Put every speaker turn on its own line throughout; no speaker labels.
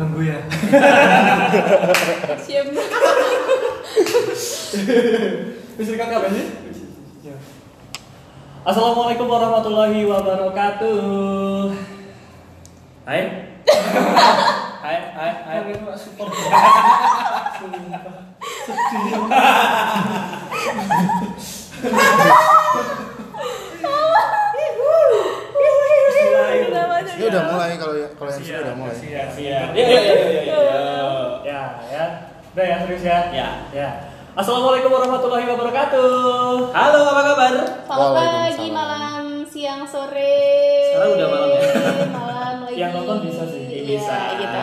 nunggu ya
Siap.
Wis rekat kabeh sih? Iya, Assalamualaikum warahmatullahi wabarakatuh.
Hai. Hai, hai, hai.
Kalian mah support.
Ini udah mulai kalau ya- kalau yang sini udah mulai.
Iya, iya.
Iya, iya, iya, iya, iya.
Ya, ya. Udah ya, serius ya?
Ya.
Ya. Assalamualaikum warahmatullahi wabarakatuh. Halo, apa kabar?
Selamat pagi,
Waalaikumsalam.
malam, siang, sore.
Sekarang udah malam ya?
Malam lagi.
Yang nonton bisa sih.
Iya,
Bisa.
gitu.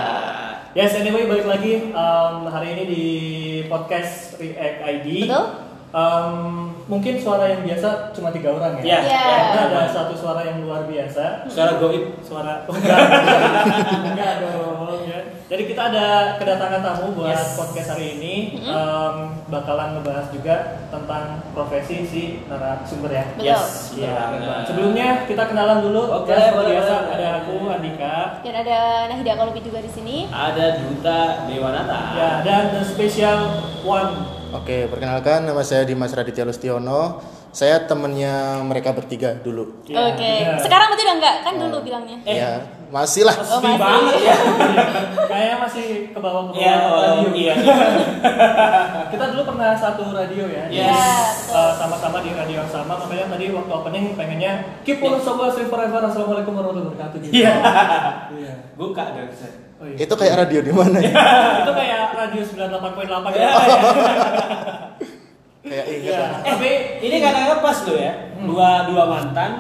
Yes, anyway balik lagi em, hari ini di podcast React ID.
Betul.
Em, mungkin suara yang biasa cuma tiga orang ya.
Iya.
Iya.
Karena ada satu suara yang luar biasa.
Suara goib.
suara enggak enggak dong ya. Jadi kita ada kedatangan tamu
Iya.
buat
Yes. Mm-hmm.
podcast hari ini Em, bakalan ngebahas juga tentang profesi si narasumber ya.
Betul.
Yes.
Iya.
benar.
Sebelumnya kita kenalan dulu.
Oke,
Ya, seperti
boleh,
biasa
boleh,
ada
boleh.
aku Andika.
Dan ada Nahida Kolobi juga di sini.
ada Duta Dewanata.
Ya, dan the special one.
Oke, perkenalkan nama saya Dimas Raditya Lustiono. Saya temennya mereka bertiga dulu.
Ya,
Oke.
benar.
Sekarang berarti udah enggak kan dulu bilangnya.
Eh. Ya, masih lah.
Oh,
Sedih
masih.
banget ya.
Kayaknya masih ke bawah ke bawah
Iya, oh,
radio.
iya.
Kita dulu pernah satu radio
Yes.
ya. Jadi,
Iya,
eh, sama-sama di radio yang sama makanya tadi waktu opening pengennya keep on sobat save forever assalamualaikum warahmatullahi wabarakatuh gitu.
Iya.
Iya.
Buka dong, Seth.
Oh, iya.
Itu kayak radio di mana ya?
itu kayak radio 98.8 ya.
Kayak inget
Iya.
lah.
Tapi
Ini kadang-kadang pas tuh ya. Dua dua mantan,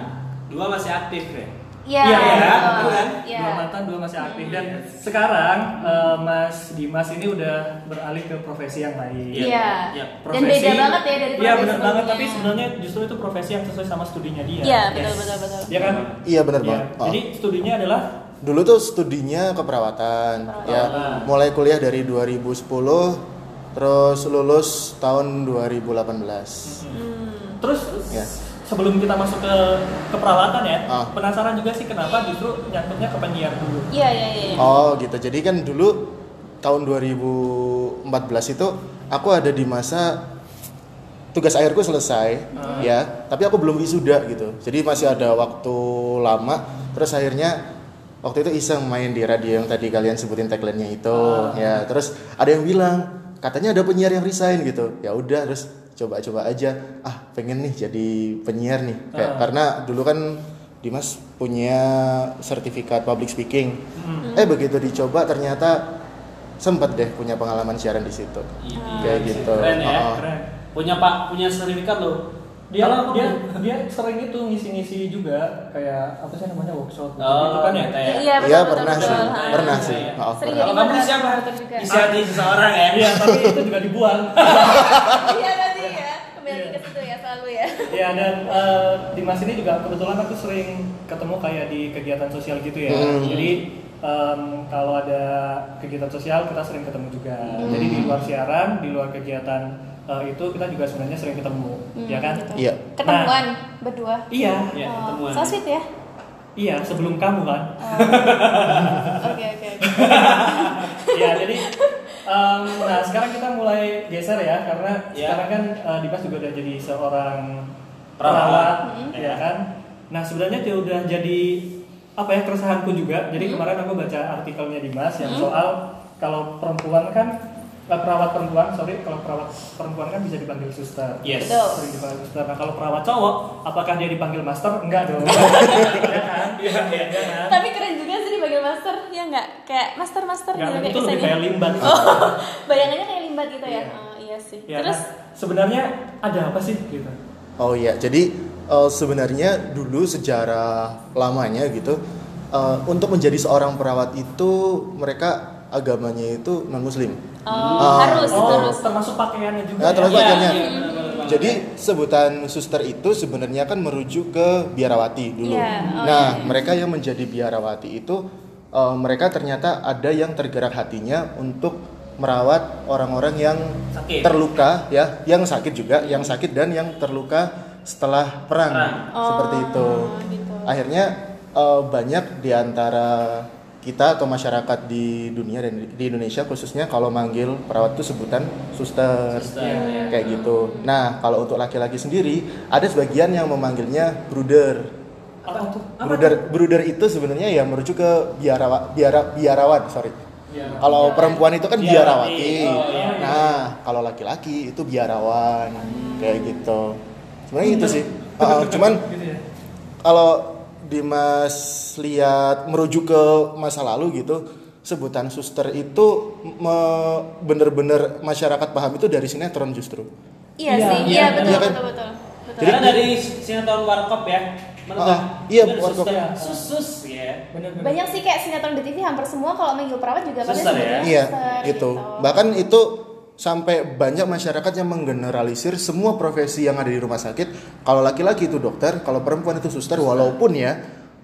dua masih aktif ya.
Iya.
Iya, iya,
betul.
betul kan?
Iya.
dua mantan dua masih aktif dan sekarang eh, Mas Dimas ini udah beralih ke profesi yang lain.
Iya.
Iya,
Dan beda banget ya dari
Iya benar
profesi
banget tapi
sebelumnya.
sebenarnya justru itu profesi yang sesuai sama studinya dia.
Iya,
Yes.
betul betul betul.
Iya kan?
Iya bener
Iya.
banget. Oh.
Jadi studinya adalah
Dulu tuh studinya keperawatan, ya.
Keperawatan.
Mulai kuliah dari 2010, terus lulus tahun 2018.
Hmm.
terus
Ya.
sebelum kita masuk ke keperawatan ya,
Ah.
penasaran juga sih kenapa justru nyangkutnya ke penyiar dulu.
Iya, iya, iya. iya.
Oh gitu. Jadi kan dulu tahun 2014 itu aku ada di masa tugas akhirku selesai ya, tapi aku belum wisuda gitu. Jadi masih ada waktu lama. Terus akhirnya waktu itu iseng main di radio yang tadi kalian sebutin tagline-nya itu ya. Terus ada yang bilang katanya ada penyiar yang resign gitu. Ya udah terus coba-coba aja. Ah, pengen nih jadi penyiar nih. Kayak- karena dulu kan Dimas punya sertifikat public speaking. Eh begitu dicoba ternyata sempat deh punya pengalaman siaran di situ.
Iya.
Kayak gitu.
Keren ya.
Oh, oh.
Keren.
Punya Pak, punya sertifikat loh.
Dia
Kalau aku
dia
belum.
dia sering itu ngisi-ngisi juga kayak apa sih namanya workshop gitu,
Oh,
kan ya.
kayak-
Iya, betul,
Iya
betul,
pernah
betul.
sih,
Ha.
pernah sih. Oh,
Sering
pernah.
Kalau
Jadi
kamu
mantan
siapa?
dokter juga.
Isi hati seseorang ya.
Iya, tapi itu juga dibuang.
Iya tadi ya. Kembali lagi ke situ ya selalu ya.
Iya dan eh, Dimas ini juga kebetulan aku sering ketemu kayak di kegiatan sosial gitu ya.
Hmm.
Jadi em, kalau ada kegiatan sosial kita sering ketemu juga.
Hmm.
Jadi di luar siaran, di luar kegiatan eh, itu kita juga sebenarnya sering ketemu, ya kan?
gitu.
Iya.
Ketemuan berdua.
Iya,
Iya,
Oh,
ketemuan.
So sweet ya.
iya sebelum kamu kan.
Oh. Oke oke. oke.
Iya jadi em, nah sekarang kita mulai geser ya karena
Iya.
sekarang kan eh, Dimas juga udah jadi seorang
Perawat.
perawat,
Mm-hmm.
Mhm.
ya kan. Nah sebenarnya dia udah jadi apa ya keresahanku juga.
Mm-hmm.
Jadi kemarin aku baca artikelnya Dimas yang soal kalau perempuan kan eh, perawat perempuan sorry kalau perawat perempuan kan bisa dipanggil suster.
Yes.
Betul.
Sering dipanggil suster. Nah kalau perawat cowok apakah dia dipanggil master? Enggak dong. ya kan?
Iya, iya.
Ya kan?
Tapi keren juga sih dipanggil master ya nggak? Kayak master master
Iya,
Nggak,
gitu
itu lebih
kesannya.
kayak limbat.
Oh, bayangannya kayak limbat gitu ya.
Iya.
Oh, iya sih.
Ya,
Terus
nah, sebenarnya ada apa sih gitu?
Oh iya, jadi eh, sebenarnya dulu sejarah lamanya gitu eh, untuk menjadi seorang perawat itu mereka agamanya itu non muslim.
oh,
Ah.
harus
Oh,
terus.
termasuk pakaiannya juga.
Nah,
ya?
termasuk
Iya,
pakaiannya.
iya, benar, benar, benar.
Jadi sebutan suster itu sebenarnya kan merujuk ke biarawati dulu.
Iya, oh
nah,
iya.
mereka yang menjadi biarawati itu eh, mereka ternyata ada yang tergerak hatinya untuk merawat orang-orang yang
Sakit.
terluka ya, yang sakit juga, yang sakit dan yang terluka setelah perang.
Perang.
Oh,
Seperti itu.
gitu.
Akhirnya eh, banyak di antara kita atau masyarakat di dunia dan di Indonesia khususnya kalau manggil perawat itu sebutan suster,
Suster,
ya.
kayak gitu. Nah kalau untuk laki-laki sendiri ada sebagian yang memanggilnya bruder.
apa tuh
Apa
Bruder, bruder itu sebenarnya ya merujuk ke biarawa, biara, biarawan, sorry.
Biarawan.
Kalau perempuan itu kan
Biarawati.
biarawati.
Oh, iya.
Nah, kalau laki-laki itu biarawan, kayak gitu. Sebenarnya itu sih. Uh, cuman
gitu ya
kalau Dimas lihat merujuk ke masa lalu gitu, sebutan suster itu me- bener-bener masyarakat paham itu dari sinetron justru.
Iya
Iya,
sih,
iya,
iya
iya
betul
kan?
betul betul. betul.
Karena dari sinetron Warkop ya. Mana
Ah,
tuh?
iya,
Bener,
Warkop.
suster.
Ya.
Sus sus ya.
bener bener
Banyak sih kayak sinetron di TV hampir semua kalau manggil perawat juga pasti
Suster ya?
sebutnya
Iya,
suster,
gitu. Bahkan itu sampai banyak masyarakat yang menggeneralisir semua profesi yang ada di rumah sakit. Kalau laki-laki itu dokter, kalau perempuan itu suster. Walaupun ya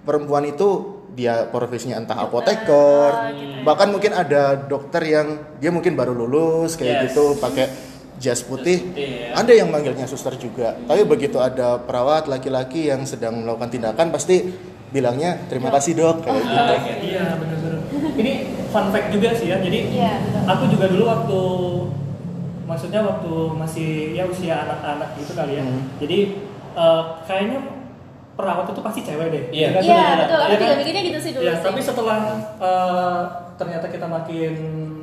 perempuan itu dia profesinya entah apoteker,
gitu.
bahkan mungkin ada dokter yang dia mungkin baru lulus
Yes.
kayak gitu pakai jas putih.
Jas putih, ya.
Ada yang manggilnya suster juga. Tapi begitu ada perawat laki-laki yang sedang melakukan tindakan pasti bilangnya terima kasih dok kayak gitu.
Ah, oke.
iya bener bener ini fun fact juga sih ya jadi
Iya, betul.
aku juga dulu waktu maksudnya waktu masih ya usia anak-anak gitu kali ya
Hmm.
jadi eh, kayaknya perawat itu pasti cewek deh
Iya.
kan?
Iya, betul. Aku
Iya kan?
juga mikirnya gitu sih dulu.
Ya,
sih.
tapi setelah eh, ternyata kita makin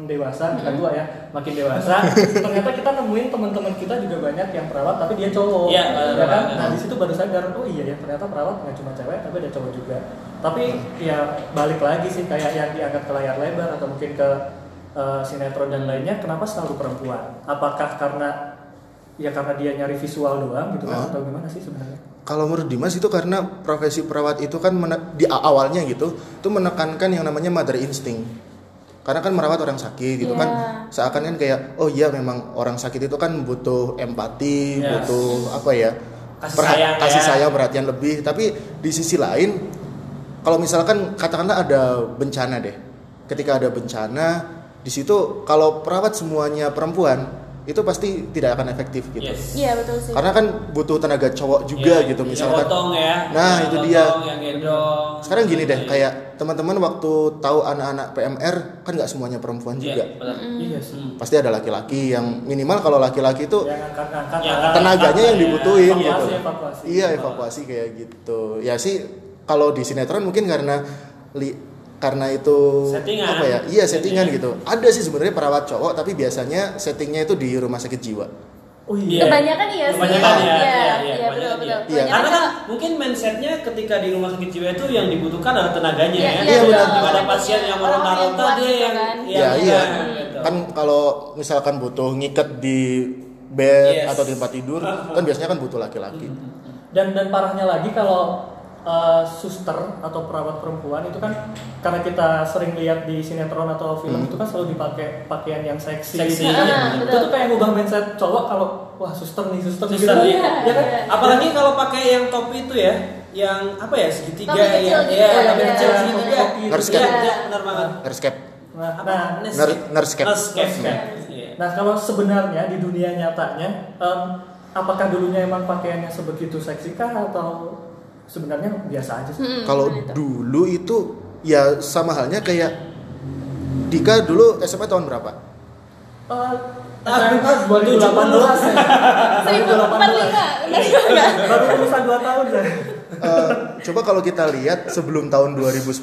dewasa,
Hmm.
kita tua ya, makin dewasa, ternyata kita nemuin teman-teman kita juga banyak yang perawat tapi dia cowok.
Iya,
ya kan?
benar.
Nah, di situ baru sadar, oh iya ya, ternyata perawat nggak cuma cewek tapi ada cowok juga. Tapi ya balik lagi sih kayak yang diangkat ke layar lebar atau mungkin ke eh, sinetron dan lainnya, kenapa selalu perempuan? Apakah karena ya karena dia nyari visual doang gitu kan
Hah?
atau gimana sih sebenarnya?
Kalau menurut Dimas itu karena profesi perawat itu kan mene- di a- awalnya gitu, itu menekankan yang namanya mother instinct. Karena kan merawat orang sakit gitu kan,
Iya.
seakan kan kayak oh iya memang orang sakit itu kan butuh empati,
Yes.
butuh apa ya?
Iya. Kasih
perha-
sayang
kasih
ya.
sayang, perhatian lebih. Tapi di sisi lain kalau misalkan katakanlah ada bencana deh. Ketika ada bencana, di situ kalau perawat semuanya perempuan, itu pasti tidak akan efektif gitu.
Yes.
Iya, betul sih.
Karena kan butuh tenaga cowok juga
Iya,
gitu
yang
misalkan.
potong ya.
Nah,
Yang
itu
potong,
dia.
Yang gendong.
Sekarang gini deh,
Iya.
kayak teman-teman waktu tahu anak-anak PMR kan nggak semuanya perempuan
Iya,
juga.
benar.
Mm,
Iya sih.
Hmm.
Pasti ada laki-laki yang minimal kalau laki-laki itu
Yang angkat-angkat
Ya,
angkat-
tenaganya yang
ya,
dibutuhin
Iya. evakuasi,
gitu.
evakuasi.
Iya, evakuasi kayak gitu. Ya sih kalau di sinetron mungkin karena li- karena itu
Settingan.
apa ya? Iya, settingan
Settingan.
gitu. Ada sih sebenarnya perawat cowok tapi biasanya settingnya itu di rumah sakit jiwa.
Oh
Iya.
iya.
Kebanyakan iya sih.
Kebanyakan ya,
Iya,
iya, iya,
iya, betul
kebanyakan
betul.
iya.
Kebanyakan
Karena kan
kan-
mungkin mindsetnya ketika di rumah sakit jiwa itu yang dibutuhkan adalah tenaganya
Iya,
ya.
iya, benar.
Ada pasien yang mau
Orang-orang yang
narota
kuat
dia
gitu
yang
kan.
Ya,
yang-
iya.
gitu.
Kan kalau misalkan butuh ngiket di bed
Yes.
atau di tempat tidur, kan biasanya kan butuh laki-laki.
dan dan parahnya lagi kalau uh, suster atau perawat perempuan itu kan karena kita sering lihat di sinetron atau film
Hmm.
itu kan selalu dipakai pakaian yang seksi,
Seksi.
gitu kan.
Ah,
itu
betul.
tuh kayak ngubah mindset cowok kalau wah suster nih suster,
Suster,
gitu
iya.
ya kan
Iya.
Apalagi kalau pakai yang topi itu ya, yang apa ya segitiga
Topi kecil
yang
gitu
ya,
ya,
yang
iya.
kecil segitiga.
Topi
kecil. Nurse cap.
Iya, iya, benar banget.
Nurse cap.
nah,
Apa?
nah
Nurse
Nur-
cap.
nurse cap.
Nurse cap.
Nurse cap.
Iya.
nah kalau sebenarnya di dunia nyatanya em, apakah dulunya emang pakaiannya sebegitu seksi kah atau sebenarnya biasa aja sih
Mm-mm,
Kalau
betul itu.
dulu itu ya sama halnya kayak Dika dulu SMA tahun berapa?
Eh,
Tapi
SMA 2018 ya.
Iya. 1045. benar
Iya,
juga.
baru lulusan 2 tahun ya
Eh, coba kalau kita lihat sebelum tahun 2010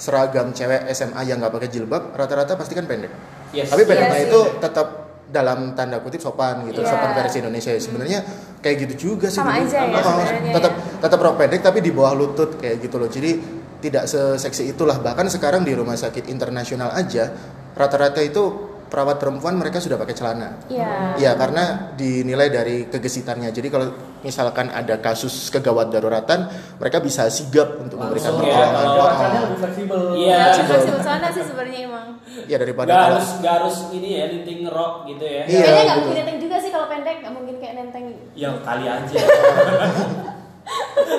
seragam cewek SMA yang nggak pakai jilbab rata-rata pasti kan pendek.
Yes.
Tapi
Iya
pendeknya
sih.
itu tetap dalam tanda kutip sopan gitu,
Iya.
sopan versi Indonesia. ya. Sebenarnya kayak gitu juga sih.
Sama
dulu.
aja ya
Oh,
sebenarnya
tetap
ya.
tetap rok pendek tapi di bawah lutut kayak gitu loh. Jadi tidak seseksi itulah. Bahkan sekarang di rumah sakit internasional aja rata-rata itu perawat perempuan mereka sudah pakai celana.
Iya.
Iya karena dinilai dari kegesitannya. Jadi kalau misalkan ada kasus kegawat daruratan, mereka bisa sigap untuk memberikan
Langsung ya,
pertolongan.
kalau-
Oh,
gerakannya
oh.
lebih fleksibel
Iya.
Ya,
juga.
masih bersana sih sebenarnya emang.
Iya daripada
Gak
kalau
harus gak harus ini ya linting rok gitu ya.
Iya,
Kayaknya nggak
gitu.
Ya,
mungkin nenteng juga sih kalau pendek, nggak mungkin kayak nenteng.
Yang kali aja.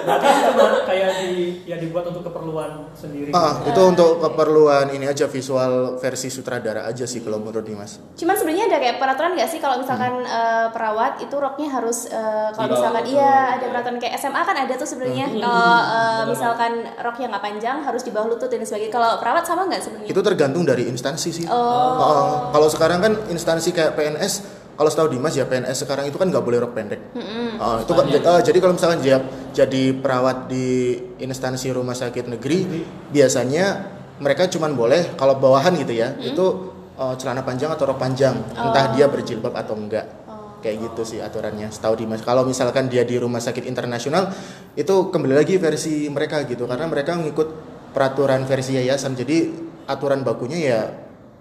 Berarti itu cuma kayak di ya dibuat untuk keperluan sendiri.
Ah, itu untuk keperluan ini aja visual versi sutradara aja sih kalau menurut Dimas.
Cuman sebenarnya ada kayak peraturan nggak sih kalau misalkan eh, perawat itu roknya harus eh, kalau
Di bawah,
misalkan
Hmm. betul.
iya ada peraturan kayak SMA kan ada tuh sebenarnya
Hmm.
kalau eh,
Betul.
misalkan roknya nggak panjang harus di bawah lutut dan sebagainya. Kalau perawat sama nggak sebenarnya?
Itu tergantung dari instansi sih.
Oh.
Oh, kalau sekarang kan instansi kayak PNS, kalau setahu Dimas ya PNS sekarang itu kan nggak boleh rok pendek. Oh, itu kan, eh, jadi kalau misalkan dia jadi perawat di instansi rumah sakit negeri, biasanya mereka cuman boleh kalau bawahan gitu ya, itu eh, celana panjang atau rok panjang, entah dia berjilbab atau enggak. Kayak gitu sih aturannya, setahu Dimas. Kalau misalkan dia di rumah sakit internasional, itu kembali lagi versi mereka gitu, karena mereka ngikut peraturan versi yayasan. Jadi aturan bakunya ya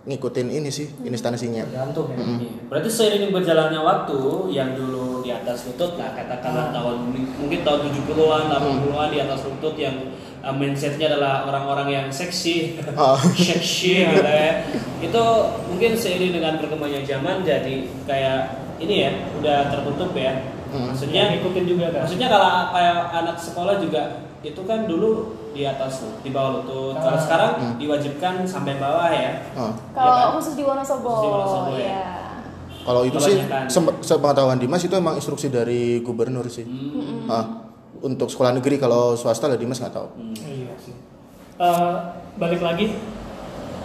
ngikutin ini sih instansinya.
Tergantung ya.
Hmm.
Iya. Berarti seiring berjalannya waktu yang dulu di atas lutut lah
Hmm.
katakanlah tahun mungkin tahun 70-an, 80-an di atas lutut yang uh, mindsetnya adalah orang-orang yang seksi,
Oh.
seksi gitu ya. Itu mungkin seiring dengan berkembangnya zaman jadi kayak ini ya, udah tertutup ya.
Hmm.
Yang
Maksudnya
ngikutin juga kan.
maksudnya kalau kayak anak sekolah juga itu kan dulu di atas lutut, di bawah lutut. Kalau
Ah.
sekarang
Hmm.
diwajibkan sampai bawah ya.
Oh.
Kalau
Iya kan?
khusus di Wonosobo,
Khusus di Wonosobo, ya.
ya.
Kalau itu sih
Kebanyakan.
se- sepengetahuan Dimas itu emang instruksi dari gubernur sih.
Hmm.
Ah, untuk sekolah negeri kalau swasta lah Dimas nggak tahu.
Hmm.
Iya sih. Eh, balik lagi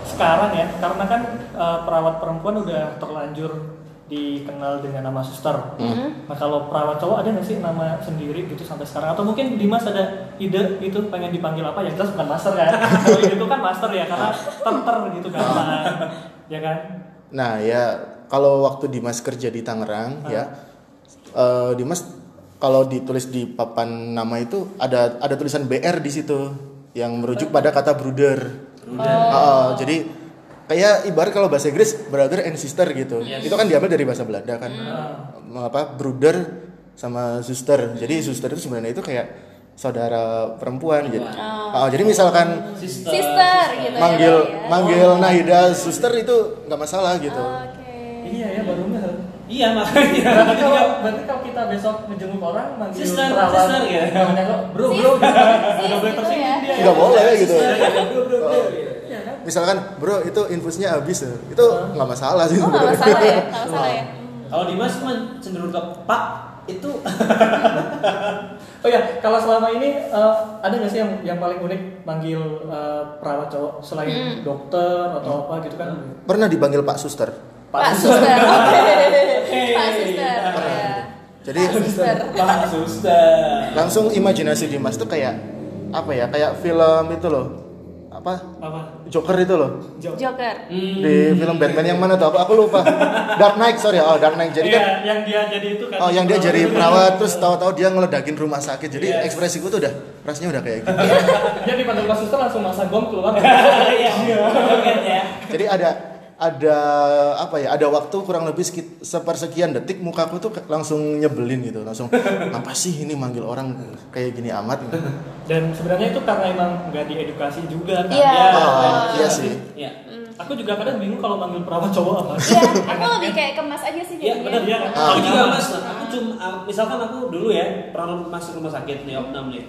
sekarang ya, karena kan eh, perawat perempuan udah terlanjur dikenal dengan nama suster.
Hmm.
Mm-mm.
Nah kalau perawat cowok ada nggak sih nama sendiri gitu sampai sekarang? Atau mungkin Dimas ada ide gitu pengen dipanggil apa? Ya jelas bukan master ya. kalau ide itu kan master ya karena terter gitu kan. ya kan?
Nah ya kalau waktu Dimas kerja di Tangerang ya eh, Dimas kalau ditulis di papan nama itu ada ada tulisan BR di situ yang merujuk pada kata brother. Ah, ah, jadi kayak ibarat kalau bahasa Inggris brother and sister gitu.
Yes.
Itu kan diambil dari bahasa Belanda kan.
Hmm.
apa brother sama suster. Jadi suster itu sebenarnya itu kayak saudara perempuan gitu. Ah, jadi misalkan
Sister,
Sister gitu
manggil
ya. Pak, ya.
manggil Nahida suster itu nggak masalah gitu.
Oke.
Iya ya baru ngeh.
Iya makanya.
Berarti kalau berarti kalau kita besok menjenguk orang manggil
Sister,
perawat,
sister, ya.
namanya kok bro
Sis,
bro gitu.
sis
Nggak boleh
gitu ya.
tersinggung dia ya.
Nggak boleh gitu.
Iya, Oh.
Iya kan?
Misalkan bro itu infusnya habis ya." itu nggak masalah sih.
Oh nggak masalah ya, nggak masalah ya.
Kalau Dimas cuman cenderung ke Pak itu
Oh ya, kalau selama ini eh, ada nggak sih yang yang paling unik manggil eh, perawat cowok selain
Hmm.
dokter atau apa gitu kan?
Pernah dipanggil Pak Suster.
Pak
Sus-
Suster, oke. Pak
Oke.
Suster, ya.
Jadi
Pak Suster.
Pak Suster.
langsung imajinasi Dimas tuh kayak apa ya? Kayak film itu loh. Apa?
Apa?
Joker itu loh.
Jawab.
Joker.
Hmm.
di film Batman yang mana tuh apa aku lupa Dark Knight sorry oh Dark Knight jadi
Iya,
kan
yang dia jadi itu kan.
oh yang dia jadi perawat terus tahu-tahu dia ngeledakin rumah sakit
Iya.
jadi ekspresiku tuh udah rasanya udah kayak gitu
Dia dipanggil Pak Suster langsung masa bom keluar.
Iya. Joget ya.
jadi ada ada apa ya ada waktu kurang lebih sekit- sepersekian detik mukaku tuh ke- langsung nyebelin gitu langsung apa sih ini manggil orang kayak gini amat Gitu.
Dan sebenarnya itu karena emang nggak diedukasi juga kan.
Iya. Hmm.
Ya,
oh
dan-
iya sih
Iya.
Aku juga kadang bingung kalau manggil perawat cowok apa.
Iya, aku lebih kayak kemas aja sih
Iya benar ya.
jadinya.
Ah.
Aku juga mas, aku cuma aku- misalkan aku dulu ya pernah masuk rumah sakit nih opnam nih.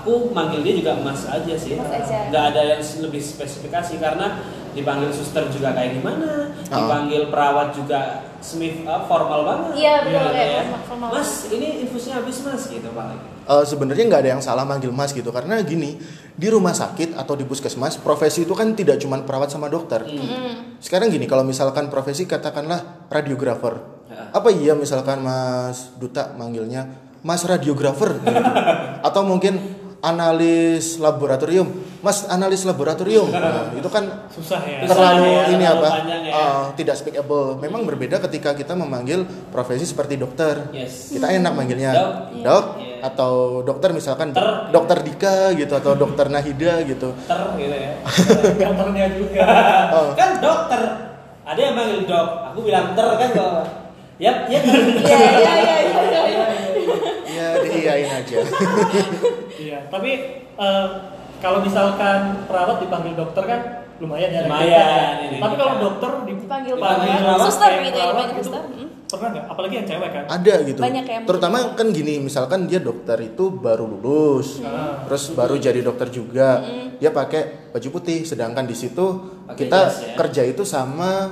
Aku manggil dia juga mas aja sih.
Mas aja.
Nggak ada yang lebih spesifikasi karena dipanggil suster juga kayak gimana,
Ah.
dipanggil perawat juga semif ah, formal banget.
Iya betul
Gitu
kayak
ya.
formal- formal.
Mas, ini infusnya habis mas gitu paling.
Eh, sebenarnya nggak ada yang salah manggil mas gitu karena gini di rumah sakit atau di puskesmas profesi itu kan tidak cuma perawat sama dokter
Mm.
Sekarang gini, kalau misalkan profesi katakanlah radiografer.
Ya.
Apa iya misalkan Mas Duta manggilnya Mas radiografer gitu. Atau mungkin analis laboratorium, Mas analis laboratorium. Nah, itu kan
Susah ya.
Bisa
terlalu
ya,
ini
terlalu
apa?
panjang ya.
eh, tidak speakable. Memang berbeda ketika kita memanggil profesi seperti dokter.
Yes.
Kita enak manggilnya
Iya. Dok.
dok
Iya.
atau dokter misalkan
Ter.
dokter Dika gitu atau dokter Nahida gitu.
Ter gitu ya.
Kantornya juga.
Oh.
kan dokter. Ada yang manggil dok. Aku bilang ter kan kok. Yap, yap.
Iya, iya, iya, iya, iya.
Ya diiyain aja.
Iya, tapi eh, kalau misalkan perawat dipanggil dokter kan lumayan ya.
Lumayan,
ya.
ini.
Tapi kalau dokter
Dipanggil
dipanggil
Dipanggil
perawat,
perawat,
suster
kayak
gitu ya,
perawat
dipanggil
gitu.
suster. Mm.
pernah nggak apalagi yang cewek kan
ada gitu
Banyak ya, mungkin.
terutama kan gini misalkan dia dokter itu baru lulus
Hmm.
terus baru jadi dokter juga dia pakai baju putih sedangkan di situ
Pakai
kita
jas ya.
kerja itu sama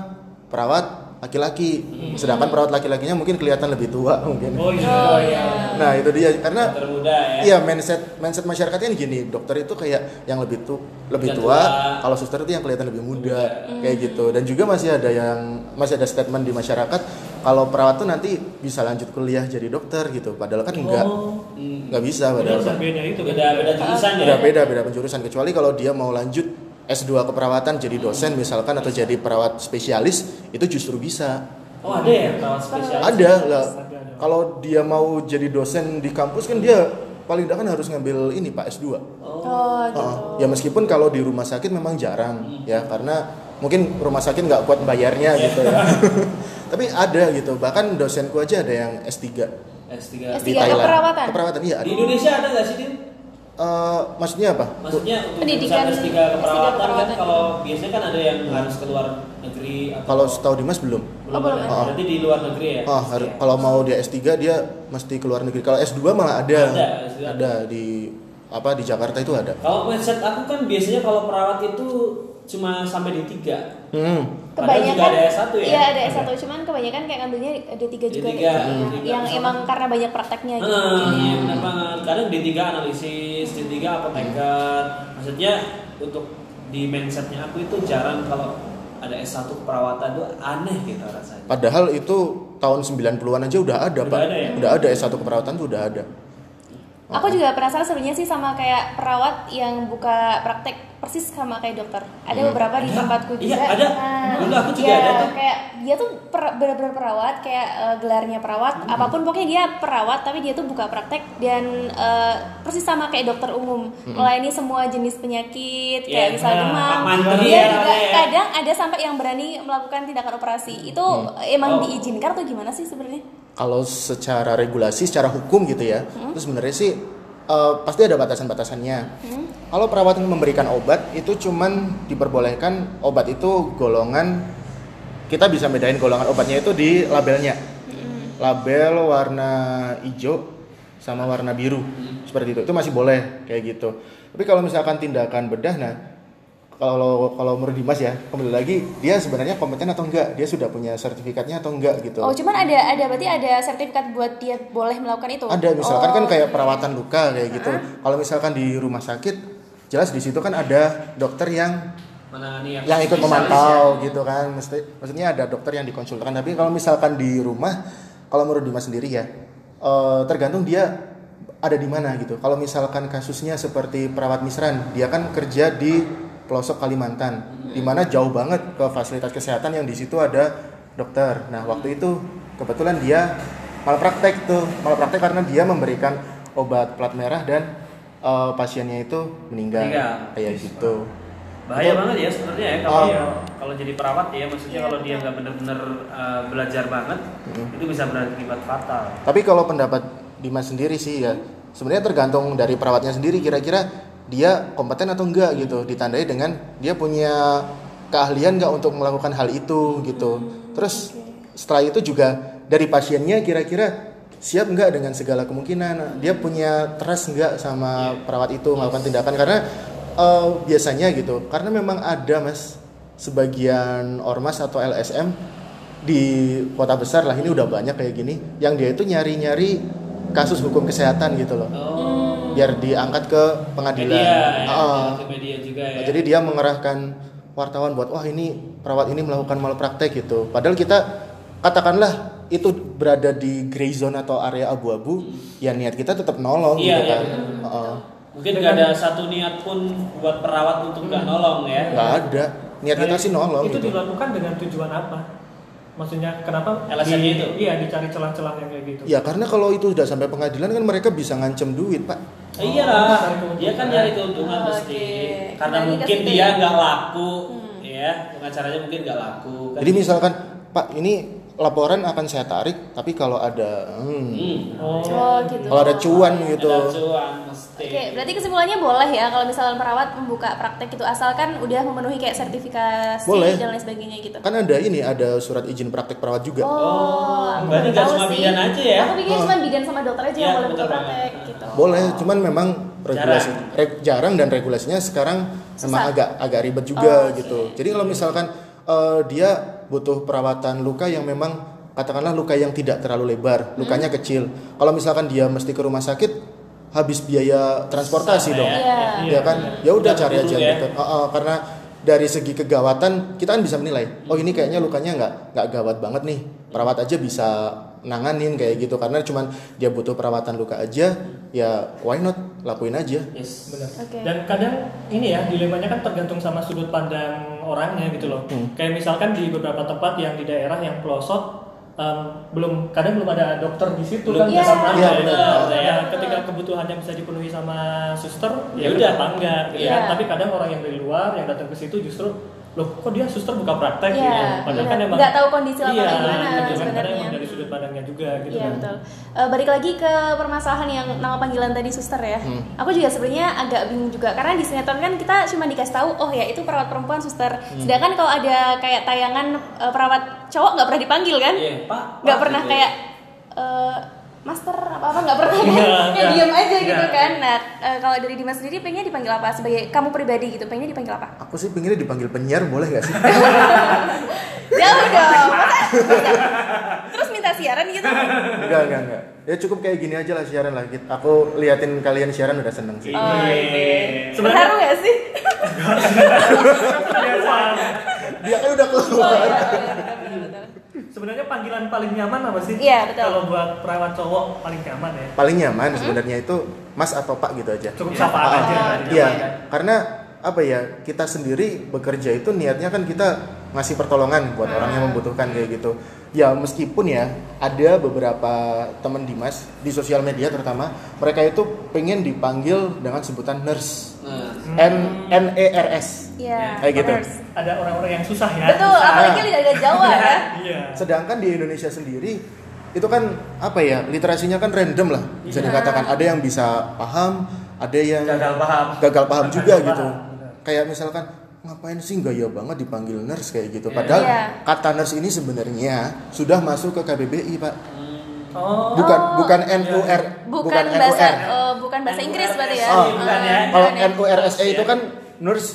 perawat laki-laki sedangkan perawat laki-lakinya mungkin kelihatan lebih tua mungkin
oh iya
Oh, iya.
nah itu dia karena
termuda ya
Iya mindset mindset masyarakatnya ini gini dokter itu kayak yang lebih tu lebih
Yang
tua,
tua.
kalau suster itu yang kelihatan lebih muda kayak gitu dan juga masih ada yang masih ada statement di masyarakat kalau perawat tuh nanti bisa lanjut kuliah jadi dokter gitu padahal kan enggak
oh
Hmm.
nggak bisa
Iya.
udah
padahal kan.
udah beda itu
beda beda jurusan ya
udah beda beda penjurusan kecuali kalau dia mau lanjut S2 keperawatan jadi dosen misalkan atau jadi perawat spesialis itu justru bisa
oh ada ya perawat spesialis
ada lah
Ada, ada.
kalau dia mau jadi dosen di kampus kan dia paling tidak kan harus ngambil ini pak S2
oh
Oh, gitu.
Oh, ya meskipun kalau di rumah sakit
Hmm.
memang jarang ya karena mungkin rumah sakit nggak kuat bayarnya
Iya.
gitu ya. Tapi ada gitu. Bahkan dosenku aja ada yang S3
S3
di
S3. Tiga
Thailand.
keperawatan?
Keperawatan iya
di
ada.
Indonesia ada nggak sih Din?
Eh, maksudnya apa?
maksudnya untuk
Pendidikan
jurusan S3
S3
keperawatan kan
keperawatan.
kalau biasanya kan ada yang harus keluar negeri atau
Kalau setahu Dimas belum.
belum
Oh, belum
ada.
ada.
berarti di luar negeri ya
Oh,
pasti
har-
ya?
kalau mau dia S3 dia mesti ke luar negeri. Kalau S2 malah ada.
Ada, S2 ada.
Ada di apa di Jakarta itu ada.
Kalau mindset aku kan biasanya kalau perawat itu cuma sampai di tiga.
Hmm.
Padahal juga
Kebanyakan
ada S1 ya.
Iya, ada S1 cuman kebanyakan kayak ngambilnya D3 juga
D3,
kayak gitu.
D3.
Yang emang karena banyak prakteknya gitu.
Eh, iya benar banget. Kadang D3 analisis, D3 apoteker. Maksudnya untuk di mindsetnya aku itu jarang kalau ada S1 keperawatan itu aneh gitu rasanya.
Padahal itu tahun 90-an aja udah ada,
Udah
Pak.
ada ya?
Udah ada S1 keperawatan tuh udah ada.
Aku juga penasaran serunya sih sama kayak perawat yang buka praktek persis sama kayak dokter. Ada beberapa di
Ada.
tempatku
Iya,
juga.
ada. Dulu aku juga
iya,
ada tuh.
Kayak dia tuh per- benar-benar perawat, kayak eh, gelarnya perawat.
Hmm.
Apapun pokoknya dia perawat, tapi dia tuh buka praktek dan eh, persis sama kayak dokter umum, melayani semua jenis penyakit, kayak
Hmm. Iya,
misal
nah,
demam.
Pak Mantri
Dia
ya,
juga
namanya ya.
kadang ada sampai yang berani melakukan tindakan operasi. Itu emang
Oh.
diizinkan atau gimana sih sebenarnya?
kalau secara regulasi, secara hukum gitu ya, itu sebenarnya sih eh, pasti ada batasan-batasannya. Kalau perawat yang memberikan obat itu cuman diperbolehkan obat itu golongan kita bisa bedain golongan obatnya itu di labelnya. Label warna hijau sama warna biru. Seperti itu. Itu masih boleh kayak gitu. Tapi kalau misalkan tindakan bedah nah kalau kalau menurut Dimas ya, kembali lagi dia sebenarnya kompeten atau enggak? Dia sudah punya sertifikatnya atau enggak gitu.
Oh, cuman ada ada berarti ada sertifikat buat dia boleh melakukan itu.
Ada misalkan
Oh,
kan kayak perawatan luka kayak gitu. Kalau misalkan di rumah sakit jelas di situ kan ada dokter yang
Menangani yang,
yang ikut
spesialis
memantau gitu kan. Mesti- maksudnya ada dokter yang dikonsulkan. Tapi kalau misalkan di rumah kalau menurut Dimas sendiri ya eh, tergantung dia ada di mana gitu. Kalau misalkan kasusnya seperti perawat Misran, dia kan kerja di pelosok Kalimantan, di mana jauh banget ke fasilitas kesehatan yang di situ ada dokter. Nah waktu itu kebetulan dia malpraktek tuh, malpraktek karena dia memberikan obat plat merah dan eh, pasiennya itu meninggal,
Meninggal.
kayak gitu.
bahaya
Betul.
banget ya sebenarnya ya kalau
Oh.
kalau jadi perawat ya maksudnya
Iya,
kalau dia
betul.
nggak benar-benar uh, belajar banget
Mm-hmm.
itu bisa berakibat fatal
Tapi kalau pendapat Dimas sendiri sih ya sebenarnya tergantung dari perawatnya sendiri kira-kira dia kompeten atau enggak gitu ditandai dengan dia punya keahlian enggak untuk melakukan hal itu gitu. Terus setelah itu juga dari pasiennya kira-kira siap enggak dengan segala kemungkinan dia punya trust enggak sama perawat itu melakukan tindakan karena eh, biasanya gitu karena memang ada mas sebagian ormas atau LSM di kota besar lah ini udah banyak kayak gini yang dia itu nyari-nyari kasus hukum kesehatan gitu loh
oh
biar diangkat ke pengadilan
media ya,
Heeh.
ke media juga ya
Oh. jadi dia mengerahkan wartawan buat wah ini perawat ini melakukan malpraktek gitu padahal kita katakanlah itu berada di gray zone atau area abu-abu ya niat kita tetap nolong
Iya,
gitu
iya,
kan
betul,
Heeh.
mungkin nggak ada satu niat pun buat perawat untuk nggak
Mm.
nolong ya
nggak ada niat kita
Nah,
sih nolong
itu
gitu
dilakukan dengan tujuan apa maksudnya kenapa
Alasannya
di-
itu?
iya dicari celah-celah yang kayak gitu
ya karena kalau itu udah sampai pengadilan kan mereka bisa ngancem duit pak
Eh, iyalah
cari keuntungan.
dia kan nyari keuntungan
Oh,
pasti
oke.
karena
Kembali ke
mungkin
situ
dia
ya.
nggak laku ya pengacaranya mungkin nggak laku kan
Jadi misalkan Pak ini laporan akan saya tarik, tapi kalau ada hmm,
Hmm.
Oh gitu.
kalau ada cuan gitu.
Ada cuan mesti.
Oke, berarti kesimpulannya boleh ya kalau misalnya perawat membuka praktek itu asalkan udah memenuhi kayak sertifikasi
Boleh.
dan lain sebagainya gitu.
Kan ada ini, ada surat izin praktek perawat juga.
Oh,
berarti
aku baru
nggak
tahu
cuma
sih.
bidan aja ya?
Aku pikir cuma bidan sama dokter aja yang
Iya,
boleh buka
betul banget.
praktek gitu.
Oh. Boleh, cuman memang regulasi
Jarang.
reg- jarang dan regulasinya sekarang memang
Susah.
agak agak ribet juga
Oh, oke.
gitu. Jadi kalau misalkan eh, dia butuh perawatan luka yang memang katakanlah luka yang tidak terlalu lebar, lukanya kecil. Kalau misalkan dia mesti ke rumah sakit habis biaya transportasi
Sama
dong.
Iya.
Ya kan? Ya udah cari aja
Udah
gitu. Oh, oh, karena dari segi kegawatan kita kan bisa menilai. Oh, ini kayaknya lukanya nggak nggak gawat banget nih. Perawat aja bisa nanganin kayak gitu karena cuman dia butuh perawatan luka aja, ya why not lakuin aja.
Yes.
benar.
Oke.
Dan kadang ini ya dilemanya kan tergantung sama sudut pandang orangnya gitu loh. Kayak misalkan di beberapa tempat yang di daerah yang pelosok em, belum kadang belum ada dokter di situ
Belum
kan
Iya.
nggak pernah
Iya,
ada
benar.
dokter ya.
Iya.
ketika kebutuhannya bisa dipenuhi sama suster
Ya
ya,
udah.
udah apa enggak gitu
Iya.
kan. Tapi kadang orang yang dari luar yang datang ke situ justru loh kok dia suster buka praktek
Iya,
gitu. Padahal kan
benar.
emang
Nggak tahu kondisi lapangan
iya,
gimana
kan kadang
sebenarnya.
emang dari sudut pandangnya juga gitu
Iya
kan.
betul. Eh, balik lagi ke permasalahan yang nama panggilan tadi suster ya. Aku juga sebenarnya agak bingung juga karena di sinetron kan kita cuma dikasih tahu oh ya itu perawat perempuan suster. Sedangkan kalau ada kayak tayangan eh, perawat cowok nggak pernah dipanggil kan?
Iya, Pak.
Nggak
Pak,
pernah
gitu.
kayak eh, master apa apa nggak pernah kan?
Iya,
Kayak
iya.
diam aja gitu
Iya.
kan. Nah eh, kalau dari Dimas sendiri pengennya dipanggil apa sebagai kamu pribadi gitu pengennya dipanggil apa?
Aku sih pinginnya dipanggil penyiar boleh nggak sih?
Jauh
Iya.
dong. Masa- masa- Terus minta siaran gitu?
Iya.
enggak, enggak, enggak. Ya cukup kayak gini aja lah siaran lagi. Aku liatin kalian siaran udah seneng sih.
Oh,
Iya.
Sebenarnya-
Terharu nggak sih? Iya.
Dia kan udah
Oh,
keluar.
iya, iya, betul, betul.
Sebenarnya panggilan paling nyaman apa sih?
Iya, betul.
Kalau buat perawat cowok paling nyaman ya.
Paling nyaman sebenarnya itu Mas atau Pak gitu aja.
Cukup
Iya.
sapaan
Ah,
aja.
Iya,
Nyaman kan?
karena apa ya kita sendiri bekerja itu niatnya kan kita ngasih pertolongan buat orang yang membutuhkan kayak gitu. Ya meskipun ya ada beberapa teman Dimas di sosial media terutama mereka itu pengen dipanggil dengan sebutan nurse,
Nah,
N N E R S.
Iya.
Kayak gitu.
benar.
Ada orang-orang yang susah ya.
Betul,
Susah.
apalagi lidah-lidah Jawa ya.
Iya.
Sedangkan di Indonesia sendiri itu kan apa ya literasinya kan random lah bisa
Iya.
dikatakan ada yang bisa paham, ada yang
gagal paham.
gagal paham
Gagal
juga
paham,
gitu.
benar.
Kayak misalkan ngapain sih gaya banget dipanggil nurse kayak gitu. Padahal
Iya.
kata nurse ini sebenarnya sudah masuk ke KBBI, Pak.
Oh.
Bukan bukan
iya.
NUR,
Bukan bahasa
NUR.
eh, bukan bahasa Inggris berarti ya.
Oh,
bukan ya.
Kalau
bukan ya.
NURSE
Iya.
itu kan nurse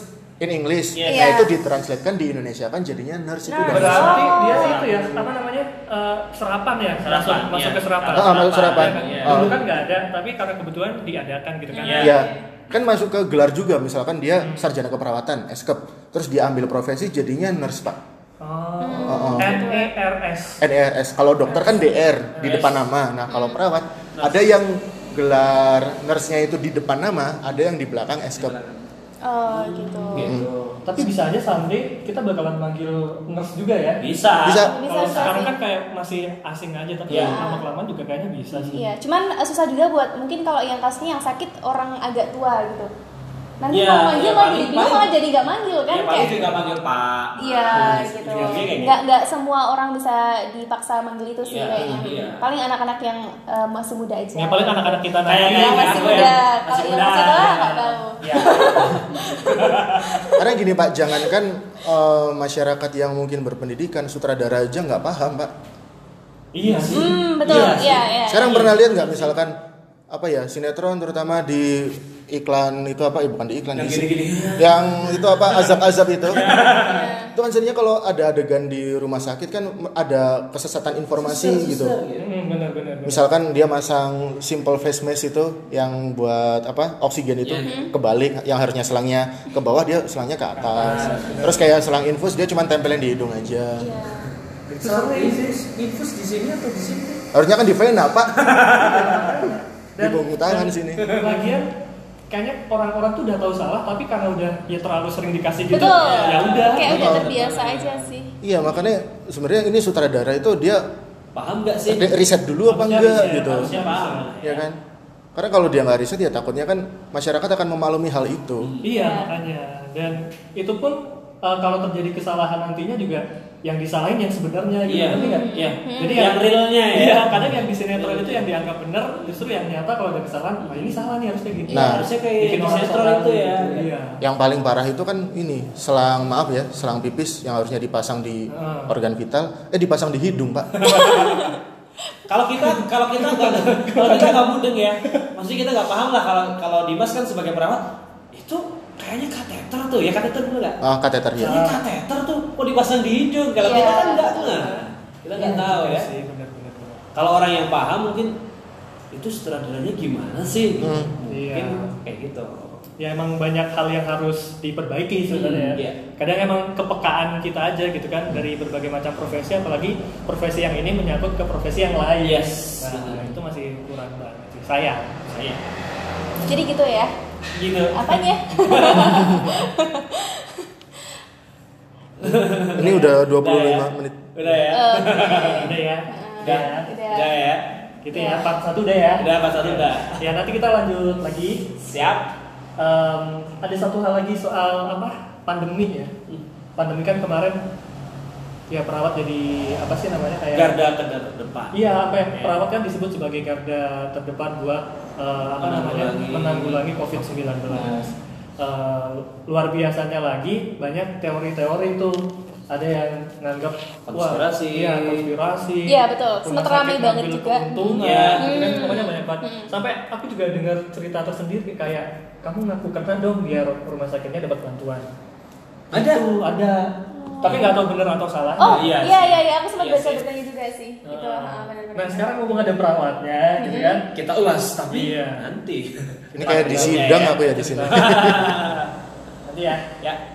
in English.
Iya.
Nah,
Iya.
itu ditranslatekan di Indonesia kan jadinya nurse itu
Nurse.
udah masuk.
Berarti
Oh.
dia itu ya, apa namanya? eh, serapan ya,
Serapan,
langsung
iya.
masuk ke serapan.
Ah, masuk serapan.
Iya kan?
Iya.
Dulu kan nggak ada, tapi karena kebetulan diadakan gitu kan.
Iya.
Iya. Kan masuk ke gelar juga misalkan dia sarjana keperawatan, eskep. Terus dia ambil profesi jadinya nurse, Pak.
Ah,
Oh. N E R S.
NRS. Kalau dokter kan DR di
Yes.
depan nama. Nah, kalau perawat ada yang gelar nurse-nya itu di depan nama, ada yang di belakang E eskep.
Nah.
Oh, gitu.
Gitu.
Tapi bisa aja someday kita bakalan manggil nurse juga ya.
Bisa.
Bisa.
Bisa,
Kalau
bisa
sekarang
sih.
kan kayak masih asing aja, tapi
Iya.
lama-kelamaan juga kayaknya bisa sih.
Iya, cuman eh, susah juga buat mungkin kalau yang kasusnya yang sakit orang agak tua gitu.
Iya,
Nanti kalau manggil
iya,
malah
paling-
jadi bingung
paling-
malah jadi nggak manggil
Ya,
kan
paling
kayak.
juga manggil Pak.
Iya
Nah,
gitu.
jujurnya kayak
Nggak nggak semua orang bisa dipaksa manggil itu sih
Iya,
kayaknya.
iya.
Paling anak-anak yang eh, masih muda aja.
Ya paling anak-anak kita
Kayak-
nanti. Iya,
Yang
kayak
Iya, masih
aku ya.
muda. Kalau
Masih
yang
muda.
masih tua nggak tahu.
Iya.
Karena gini Pak, jangankan eh, masyarakat yang mungkin berpendidikan, sutradara aja nggak paham Pak.
Iya sih.
Hmm, betul. Iya, iya.
Sekarang pernah lihat nggak misalkan apa ya sinetron terutama di iklan itu apa? Ya, bukan di iklan
Yang
di-
gini-gini.
Yang itu apa azab-azab itu.
Iya.
Itu kan sebenarnya kalau ada adegan di rumah sakit kan ada kesesatan informasi gitu.
Hmm, benar benar. benar.
Misalkan dia masang simple face mask itu yang buat apa oksigen itu
Mm-hmm.
kebalik yang harusnya selangnya ke bawah dia selangnya ke atas. Terus kayak selang infus dia cuma tempelin di hidung aja.
Iya.
Itu
Sama
sering sih.
infus, infus di sini atau di sini?
Harusnya kan di vena pak. di
Dan-
punggung
dan
tangan sini.
Lagian kayaknya orang-orang tuh udah tahu salah tapi karena udah ya terlalu sering dikasih gitu
Betul.
ya udah.
Kayak udah
Betul.
terbiasa aja sih.
Iya makanya sebenarnya ini sutradara itu dia
Paham nggak sih?
re- riset dulu
Iya.
apa
Harusnya
enggak
riset,
gitu,
harusnya paham.
ya kan? Karena kalau dia nggak
Hmm.
riset ya takutnya kan masyarakat akan memaklumi hal itu.
Iya
Iya.
makanya dan itu pun eh, kalau terjadi kesalahan nantinya juga yang disalahin yang sebenarnya gitu
Iya,
ngerti nggak?
iya.
Jadi
Yang realnya ya.
Iya, kadang yang di sinetron itu yang dianggap benar justru yang nyata kalau ada kesalahan, wah ini salah nih harusnya gini.
Iya,
Nah.
harusnya kayak
Bikin
di
orang
sinetron
salah
itu ya.
gitu, Iya.
Yang paling parah itu kan ini selang maaf ya selang pipis yang harusnya dipasang di
Ah.
organ vital eh dipasang di hidung pak.
Kalau kita kalau kita nggak kalau kita nggak mudeng ya, maksudnya kita nggak paham lah kalau kalau Dimas kan sebagai perawat itu kayaknya kateter tuh ya kateter bener nggak?
Ah kateter ya.
Ini kateter tuh kok dipasang di hidung kalau
Iya.
kita kan nggak nggak kita nggak tahu
Iya
ya.
sih, benar-benar.
Kalau orang yang paham mungkin itu sutradaranya gimana sih? Mungkin
Hmm.
Iya.
kayak gitu.
ya emang banyak hal yang harus diperbaiki sebenarnya
Hmm, iya.
ya. Kadang emang kepekaan kita aja gitu kan dari berbagai macam profesi apalagi profesi yang ini menyangkut ke profesi yang lain.
Yes.
Nah, itu masih kurang banget sih. Sayang.
Saya
Jadi gitu ya.
gitu.
Apanya?
Ini udah 25
Udah ya?
menit.
Udah ya.
Eh,
Udah ya.
Udah.
ya.
Udah.
Udah ya.
Gitu ya, part satu udah ya.
Udah pas satu udah.
Ya, nanti kita lanjut lagi.
Siap.
Em, ada satu hal lagi soal apa? Pandemi ya.
Hmm.
Pandemi kan kemarin ya perawat jadi apa sih namanya kayak
Garda terdepan.
Iya, apa ya? Perawat kan disebut sebagai garda terdepan buat eh, apa namanya
Menanggulangi-
menanggulangi COVID-19. Eh, luar biasanya lagi banyak teori-teori itu ada yang nganggap wah,
Konspirasi.
iya, konspirasi.
Iya, betul.
rumah
Sempet
sakit
rame banget
ngambil
juga.
keuntungan,
Iya.
gitu kan.
Hmm.
Pokoknya banyak banget. Sampai aku juga dengar cerita tersendiri kayak kamu ngaku kena dong biar rumah sakitnya dapat bantuan.
Ada.
Itu ada. Tapi nggak tahu benar atau salah.
oh,
Iya
iya
sih.
iya iya, aku sempat
Iya
baca
sih.
beritanya juga sih. Itu ah, Mm-hmm. benar-benar.
Nah sekarang mumpung ada perawatnya, gitu kan?
kita ulas tapi
Iya.
nanti
kan.
Ini kayak di sidang aku ya di sini.
Nanti ya.
ya